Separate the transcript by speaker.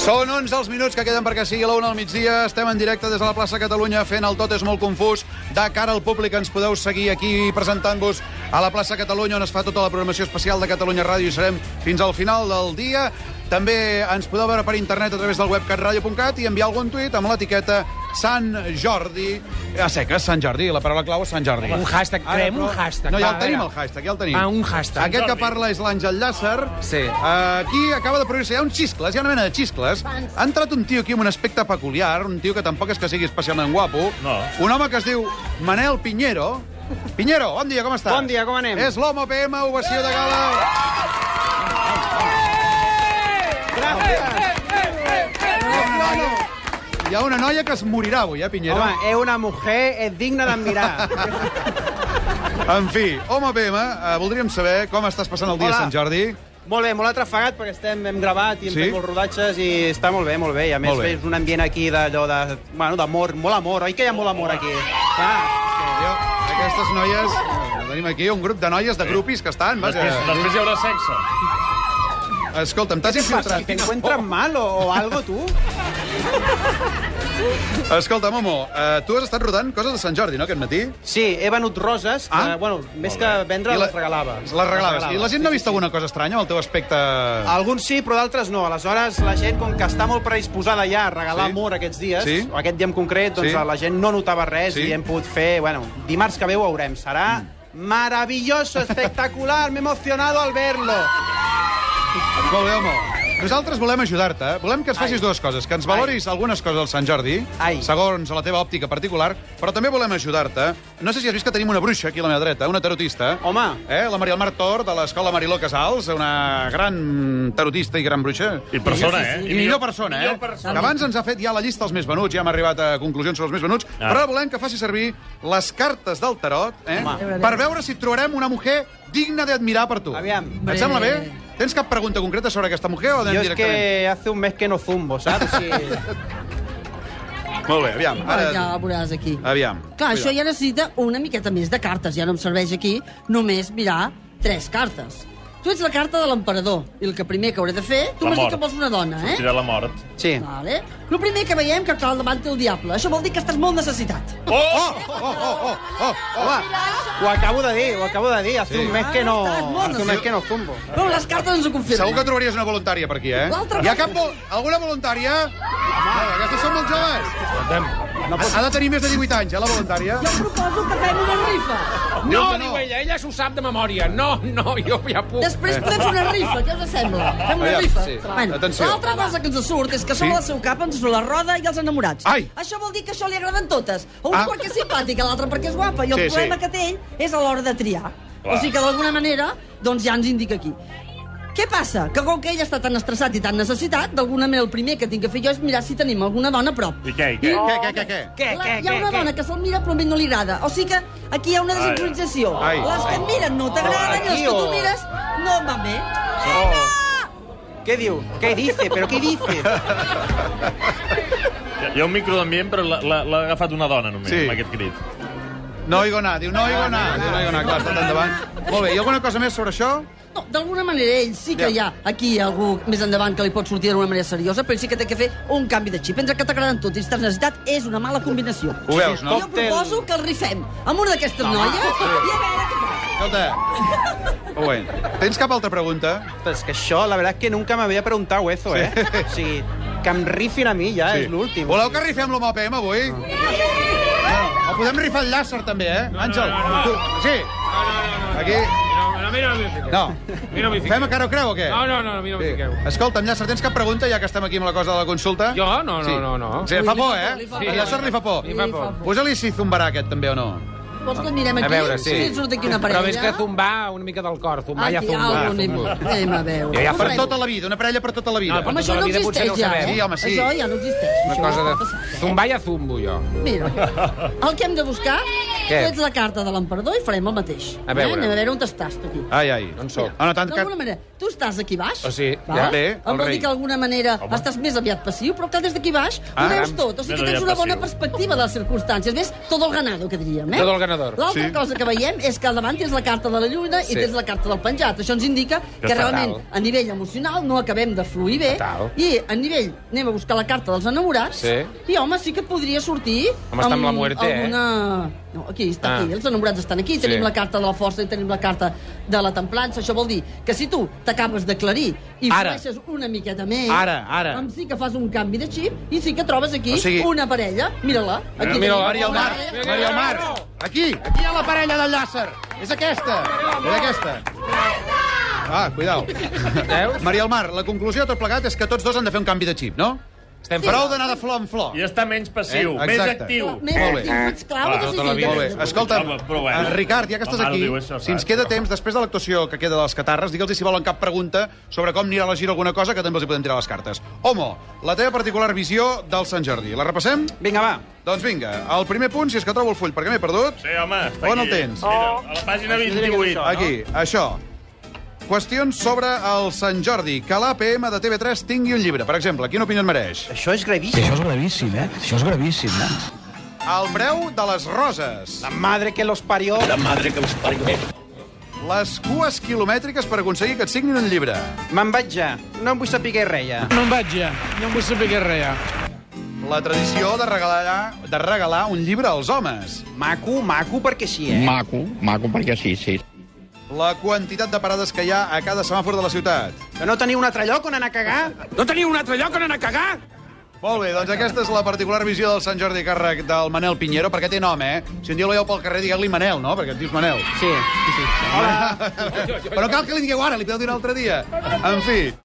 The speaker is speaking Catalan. Speaker 1: Són 11 els minuts que queden perquè sigui la 1 al migdia. Estem en directe des de la plaça Catalunya fent el Tot és molt confús. De cara al públic ens podeu seguir aquí presentant-vos a la plaça Catalunya on es fa tota la programació especial de Catalunya Ràdio i serem fins al final del dia. També ens podeu veure per internet a través del web catradio.cat i enviar algun tuit amb l'etiqueta Sant Jordi. A seques, Sant Jordi, la paraula clau és Sant Jordi.
Speaker 2: Un hashtag,
Speaker 1: Ara,
Speaker 2: creem
Speaker 1: però-
Speaker 2: un hashtag.
Speaker 1: No, ja
Speaker 2: Va,
Speaker 1: el tenim,
Speaker 2: a
Speaker 1: el
Speaker 2: veure.
Speaker 1: hashtag, ja el tenim.
Speaker 2: Va, un hashtag.
Speaker 1: Aquest que parla és l'Àngel Llàcer.
Speaker 2: Sí.
Speaker 1: Eh, Aquí acaba de produir-se, hi ha uns xiscles, hi ha una mena de xiscles. Ha entrat un tio aquí amb un aspecte peculiar, un tio que tampoc és que sigui especialment guapo.
Speaker 3: No.
Speaker 1: Un home que es diu Manel Piñero. Piñero, bon dia, com estàs?
Speaker 2: Bon dia, com anem?
Speaker 1: És l'home PM, ovació de gala. Gràcies. Hi ha una noia que es morirà avui, eh, Piñero?
Speaker 2: Home, és una mujer, és digna d'admirar.
Speaker 1: En fi, home PM, eh, voldríem saber com estàs passant el dia
Speaker 2: Hola.
Speaker 1: a Sant Jordi.
Speaker 2: molt bé, molt atrafegat, perquè estem, hem gravat i hem
Speaker 1: Sí?
Speaker 2: fet molts rodatges i està molt bé, molt bé. I a més,
Speaker 1: Molt bé.
Speaker 2: és un ambient aquí d'allò de... Bueno, d'amor, molt amor, oi que hi ha molt amor aquí? Ah,
Speaker 1: Jo, aquestes noies... eh, Tenim aquí un grup de noies, de grupis, que estan... Vaja.
Speaker 3: Després, després hi haurà sexe.
Speaker 1: Escolta'm, t'has
Speaker 2: si te
Speaker 1: infiltrat...
Speaker 2: encuentras mal o, o algo, tu?
Speaker 1: Escolta, Momo, eh, tu has estat rodant coses de Sant Jordi, no, aquest matí?
Speaker 2: Sí, he venut roses, que,
Speaker 1: Ah.
Speaker 2: bueno, més que vendre,
Speaker 1: I la-
Speaker 2: les regalava.
Speaker 1: Les regalaves. I la gent no ha vist alguna cosa estranya amb el teu aspecte...
Speaker 2: Alguns sí, però d'altres no. Aleshores, la gent, com que està molt predisposada ja a regalar
Speaker 1: Sí.
Speaker 2: sí. amor aquests dies,
Speaker 1: Sí.
Speaker 2: sí. o aquest dia en concret, doncs
Speaker 1: Sí.
Speaker 2: sí. la gent no notava res
Speaker 1: Sí. Mm.
Speaker 2: sí. i hem pogut fer... Bueno, dimarts que ve ho veurem. Serà maravilloso, espectacular, m'he emocionado al verlo.
Speaker 1: Molt bé, Momo. Nosaltres volem ajudar-te. eh? Volem que ens facis
Speaker 2: Ai.
Speaker 1: dues coses. Que ens valoris algunes coses del Sant Jordi,
Speaker 2: Ai.
Speaker 1: segons la teva òptica particular, però també volem ajudar-te. No sé si has vist que tenim una bruixa aquí a la meva dreta, una tarotista.
Speaker 2: Home.
Speaker 1: Eh? La Maria Almar Tor, de l'escola Mariló Casals, una gran tarotista i gran bruixa.
Speaker 3: I persona, eh?
Speaker 1: I millor persona, eh?
Speaker 3: Millor persona.
Speaker 1: Que abans ens ha fet ja la llista dels més venuts, ja hem arribat a conclusions sobre els més venuts,
Speaker 3: Ah.
Speaker 1: però volem que faci servir les cartes del tarot eh?
Speaker 2: Home.
Speaker 1: per veure si trobarem una mujer digna d'admirar per tu.
Speaker 2: Aviam.
Speaker 1: Et sembla bé? Tens cap pregunta concreta sobre aquesta mujer o anem
Speaker 2: Jo és que
Speaker 1: directament?
Speaker 2: hace un mes que no zumbo, saps? Sí.
Speaker 1: Que... Molt bé, aviam.
Speaker 4: Ara...
Speaker 1: Ara... Ah,
Speaker 4: Ja veuràs aquí.
Speaker 1: Aviam.
Speaker 4: Clar, això ja necessita una miqueta més de cartes. Ja no em serveix aquí només mirar tres cartes. Tu ets la carta de l'emperador. I el que primer que hauré de fer... Tu
Speaker 3: La
Speaker 4: m'has dit
Speaker 3: mort.
Speaker 4: que vols una dona, eh?
Speaker 3: Sortirà la mort.
Speaker 2: sí.
Speaker 4: Vale. El primer que veiem que clar, al davant té el diable. Això vol dir que estàs molt necessitat.
Speaker 3: Oh! oh!
Speaker 1: Oh, oh, oh, oh, oh.
Speaker 2: Home, ho acabo de dir, ho acabo de dir. Hace
Speaker 1: Sí.
Speaker 2: sí. un mes que no...
Speaker 4: Ah, estàs molt
Speaker 2: Hace un mes que no zumbo.
Speaker 4: Però les cartes ens ho confirmen.
Speaker 1: Segur que trobaries una voluntària per aquí, eh?
Speaker 4: L'altra
Speaker 1: Hi ha
Speaker 4: vegada.
Speaker 1: cap... Vol... Alguna voluntària? Home, aquestes són molt joves.
Speaker 2: No pot...
Speaker 1: Ha de tenir més de 18 anys, eh, la voluntària?
Speaker 4: Jo proposo que fem una rifa.
Speaker 5: No,
Speaker 1: Diu que
Speaker 5: diu ella, ella s'ho sap de memòria. No, no, jo ja puc.
Speaker 4: Després podem fer una rifa, què us sembla? Fem una
Speaker 1: Aviam,
Speaker 4: rifa.
Speaker 1: sí.
Speaker 4: Bueno,
Speaker 1: Atenció.
Speaker 4: L'altra cosa que ens surt és que
Speaker 1: Sí?
Speaker 4: sobre el seu cap ens surt la roda i els enamorats.
Speaker 1: Ai!
Speaker 4: Això vol dir que això li agraden totes. A un
Speaker 1: Ah.
Speaker 4: ah. perquè és simpàtic, a l'altre perquè és guapa. I el
Speaker 1: Sí, sí.
Speaker 4: problema que té ell és a l'hora de triar.
Speaker 3: Clar.
Speaker 4: O sigui que d'alguna manera doncs ja ens indica aquí. Què passa? Que com que ell està tan estressat i tan necessitat, d'alguna manera el primer que tinc que fer jo és mirar si tenim alguna dona a prop.
Speaker 3: I què, i què?
Speaker 1: Què, què, què, què?
Speaker 2: Què,
Speaker 4: La,
Speaker 2: què,
Speaker 4: hi ha una dona que se'l mira però a mi no li agrada. O sigui que aquí hi ha una
Speaker 3: Ai.
Speaker 4: desincronització.
Speaker 1: Ai.
Speaker 4: Les que et miren no t'agraden i les
Speaker 2: Aquí
Speaker 4: que tu
Speaker 2: o-
Speaker 4: mires no van bé.
Speaker 2: Què Oh. diu? Què dice? Però què dice?
Speaker 3: Hi ha un micro d'ambient, però l'ha- l'ha l'ha agafat una dona, només,
Speaker 1: Sí.
Speaker 3: amb aquest crit.
Speaker 1: No oigo nada, diu, no oigo nada. Diu, no oigo nada, clar, està tan endavant. Molt bé, i alguna cosa més sobre això?
Speaker 4: No, d'alguna manera ell sí que
Speaker 1: Ja.
Speaker 4: hi ha aquí algú més endavant que li pot sortir d'una manera seriosa, però ell sí que té que fer un canvi de xip. Entre que t'agraden tot i estàs necessitat és una mala combinació.
Speaker 1: Ho veus, no?
Speaker 4: Jo proposo que el rifem amb una d'aquestes noies i a veure què fa.
Speaker 1: Escolta. Owen, tens cap altra pregunta?
Speaker 2: Però és que això, la veritat és que nunca m'havia preguntat eso, eh? O sigui, que em rifin a mi ja, sí. és l'últim.
Speaker 1: Voleu que rifem l'home OPM avui? No. O podem rifar el Llàcer, també, eh? Àngel, tu... Sí. Aquí...
Speaker 5: No, no, a mi no m'hi fiqueu.
Speaker 1: No.
Speaker 5: A mi no m'hi fiqueu.
Speaker 1: Fem a cara o creu o què?
Speaker 5: No, no, no, a mi no m'hi fiqueu.
Speaker 1: Escolta, Llàcer, tens cap pregunta, ja que estem aquí amb la cosa de la consulta?
Speaker 5: Jo? No, no, no, no.
Speaker 1: Sí, fa por, eh?
Speaker 4: Li fa por, li fa por.
Speaker 1: El Llàcer li fa por.
Speaker 5: Li fa por.
Speaker 1: Posa-li si zumbarà aquest, també, o no?
Speaker 4: Vols que mirem
Speaker 5: A
Speaker 4: aquí?
Speaker 5: veure, sí.
Speaker 4: Si surt aquí una
Speaker 5: Però
Speaker 4: parella...
Speaker 5: és que zumbar una mica del cor. Zumbar
Speaker 4: Aquí
Speaker 5: ja
Speaker 4: hi ha
Speaker 5: zumbar.
Speaker 4: algun... Anem, anem a veure.
Speaker 5: Ja, ja,
Speaker 1: Per
Speaker 4: Veurem.
Speaker 1: tota la vida, una parella per tota la vida.
Speaker 5: No, per
Speaker 4: Home,
Speaker 5: tota
Speaker 4: això
Speaker 5: la
Speaker 4: no
Speaker 5: vida potser
Speaker 4: existeix
Speaker 5: no ho
Speaker 4: ja,
Speaker 5: sabem.
Speaker 4: eh?
Speaker 1: Sí, home, sí.
Speaker 4: Això ja no existeix.
Speaker 5: Una
Speaker 4: això
Speaker 5: cosa
Speaker 4: ha
Speaker 5: de...
Speaker 4: passat, eh?
Speaker 5: Zumbar ja zumbo, jo.
Speaker 4: Mira, el que hem de buscar
Speaker 5: Què?
Speaker 4: Tu ets la carta de l'emperador i farem el mateix.
Speaker 5: A veure.
Speaker 4: Eh? Anem a veure on estàs, tu, aquí.
Speaker 1: Ai, ai.
Speaker 5: On sóc?
Speaker 1: Ah, no, tant
Speaker 4: D'alguna
Speaker 1: que...
Speaker 4: manera, tu estàs aquí baix.
Speaker 3: Oh,
Speaker 5: O sigui,
Speaker 4: va?
Speaker 5: ja.
Speaker 1: Bé, el
Speaker 4: Em vol
Speaker 1: rei.
Speaker 4: dir que d'alguna manera Home. estàs més aviat passiu, però que des d'aquí baix
Speaker 1: Ah,
Speaker 4: ho veus
Speaker 5: caram.
Speaker 4: tot. O sigui
Speaker 3: Més
Speaker 4: que tens
Speaker 3: aviat
Speaker 4: una bona
Speaker 3: passiu.
Speaker 4: perspectiva de les circumstàncies. Ves tot el ganado, que diríem. Eh?
Speaker 5: Todo el ganador.
Speaker 4: L'altra
Speaker 1: Sí.
Speaker 4: cosa que veiem és que al davant tens la carta de la lluna
Speaker 5: Sí.
Speaker 4: i tens la carta del penjat. Això ens indica que,
Speaker 5: fatal.
Speaker 4: realment a nivell emocional no acabem de fluir bé.
Speaker 5: Fatal.
Speaker 4: I a nivell, anem a buscar la carta dels enamorats.
Speaker 5: Sí.
Speaker 4: I home, sí que podria sortir...
Speaker 5: Home, està amb la muerte, eh?
Speaker 4: alguna... eh? No, aquí, està
Speaker 5: Ah.
Speaker 4: aquí. Els enamorats estan aquí.
Speaker 5: Sí.
Speaker 4: Tenim la carta de la força i tenim la carta de la templança. Això vol dir que si tu t'acabes d'aclarir i
Speaker 1: Ara.
Speaker 4: coneixes una miqueta més...
Speaker 1: Ara, ara.
Speaker 4: Doncs sí que fas un canvi de xip i sí que trobes aquí
Speaker 1: O sigui-
Speaker 4: una parella. Mira-la.
Speaker 5: mira-la,
Speaker 4: Aquí tenim
Speaker 1: Maria
Speaker 4: una
Speaker 1: el Mar,
Speaker 4: parella.
Speaker 5: Mira,
Speaker 1: Maria el Mar. Aquí, aquí hi ha la parella del Llàcer. És aquesta, és aquesta. Ah, cuidao.
Speaker 5: Veus?
Speaker 1: Maria el Mar, la conclusió de tot plegat és que tots dos han de fer un canvi de xip, no?
Speaker 5: Estem
Speaker 1: Prou
Speaker 5: fora.
Speaker 1: d'anar de flor en flor.
Speaker 3: I està menys passiu,
Speaker 1: Eh,
Speaker 3: més
Speaker 1: exacte.
Speaker 3: actiu.
Speaker 4: Més
Speaker 1: Molt bé.
Speaker 4: actiu, ets clau
Speaker 3: Va,
Speaker 4: de
Speaker 5: tota la vida.
Speaker 1: Molt bé. Escolta,
Speaker 3: Home, però bueno.
Speaker 1: en Ricard, ja que estàs
Speaker 3: La mare
Speaker 1: aquí,
Speaker 3: diu això,
Speaker 1: si ens
Speaker 3: saps,
Speaker 1: queda
Speaker 3: però-
Speaker 1: temps, després de l'actuació que queda de les catarres, digue'ls si volen cap pregunta sobre com anirà la gira alguna cosa, que també els hi podem tirar les cartes. Homo, la teva particular visió del Sant Jordi. La repassem?
Speaker 2: Vinga, va.
Speaker 1: Doncs vinga, el primer punt, si és que trobo el full, perquè m'he perdut.
Speaker 3: Sí, home, està
Speaker 1: On el
Speaker 3: aquí.
Speaker 1: tens?
Speaker 3: Mira, a la pàgina
Speaker 2: diria que
Speaker 3: 28.
Speaker 2: no?
Speaker 1: Aquí, això. Qüestions sobre el Sant Jordi. Que l'APM de TV3 tingui un llibre, per exemple. Quina opinió et mereix?
Speaker 2: Això és
Speaker 6: Sí,
Speaker 2: gravíssim.
Speaker 6: això és gravíssim, eh? Això és gravíssim, eh?
Speaker 1: El breu de les roses.
Speaker 2: La madre que los parió.
Speaker 1: Les cues quilomètriques per aconseguir que et signin un llibre.
Speaker 2: Me'n vaig ja. No em vull saber res, ja.
Speaker 5: No em vaig ja. No em vull saber què res ja.
Speaker 1: La tradició de regalar, de regalar un llibre als homes.
Speaker 2: Maco, maco, perquè sí, eh?
Speaker 7: Maco, maco perquè sí, sí.
Speaker 1: La quantitat de parades que hi ha a cada semàfor de la ciutat.
Speaker 2: Que no teniu un altre lloc on anar a cagar?
Speaker 5: No teniu un altre lloc on anar a cagar?
Speaker 1: Molt bé, doncs aquesta és la particular visió del Sant Jordi Càrrec del Manel Pinheiro, perquè té nom, eh? Si un dia el veieu pel carrer, digueu-li Manel, no? Perquè et dius Manel.
Speaker 2: Sí, sí, sí.
Speaker 1: Hola. Però cal que li digueu ara, li podeu dir un altre dia. En fi...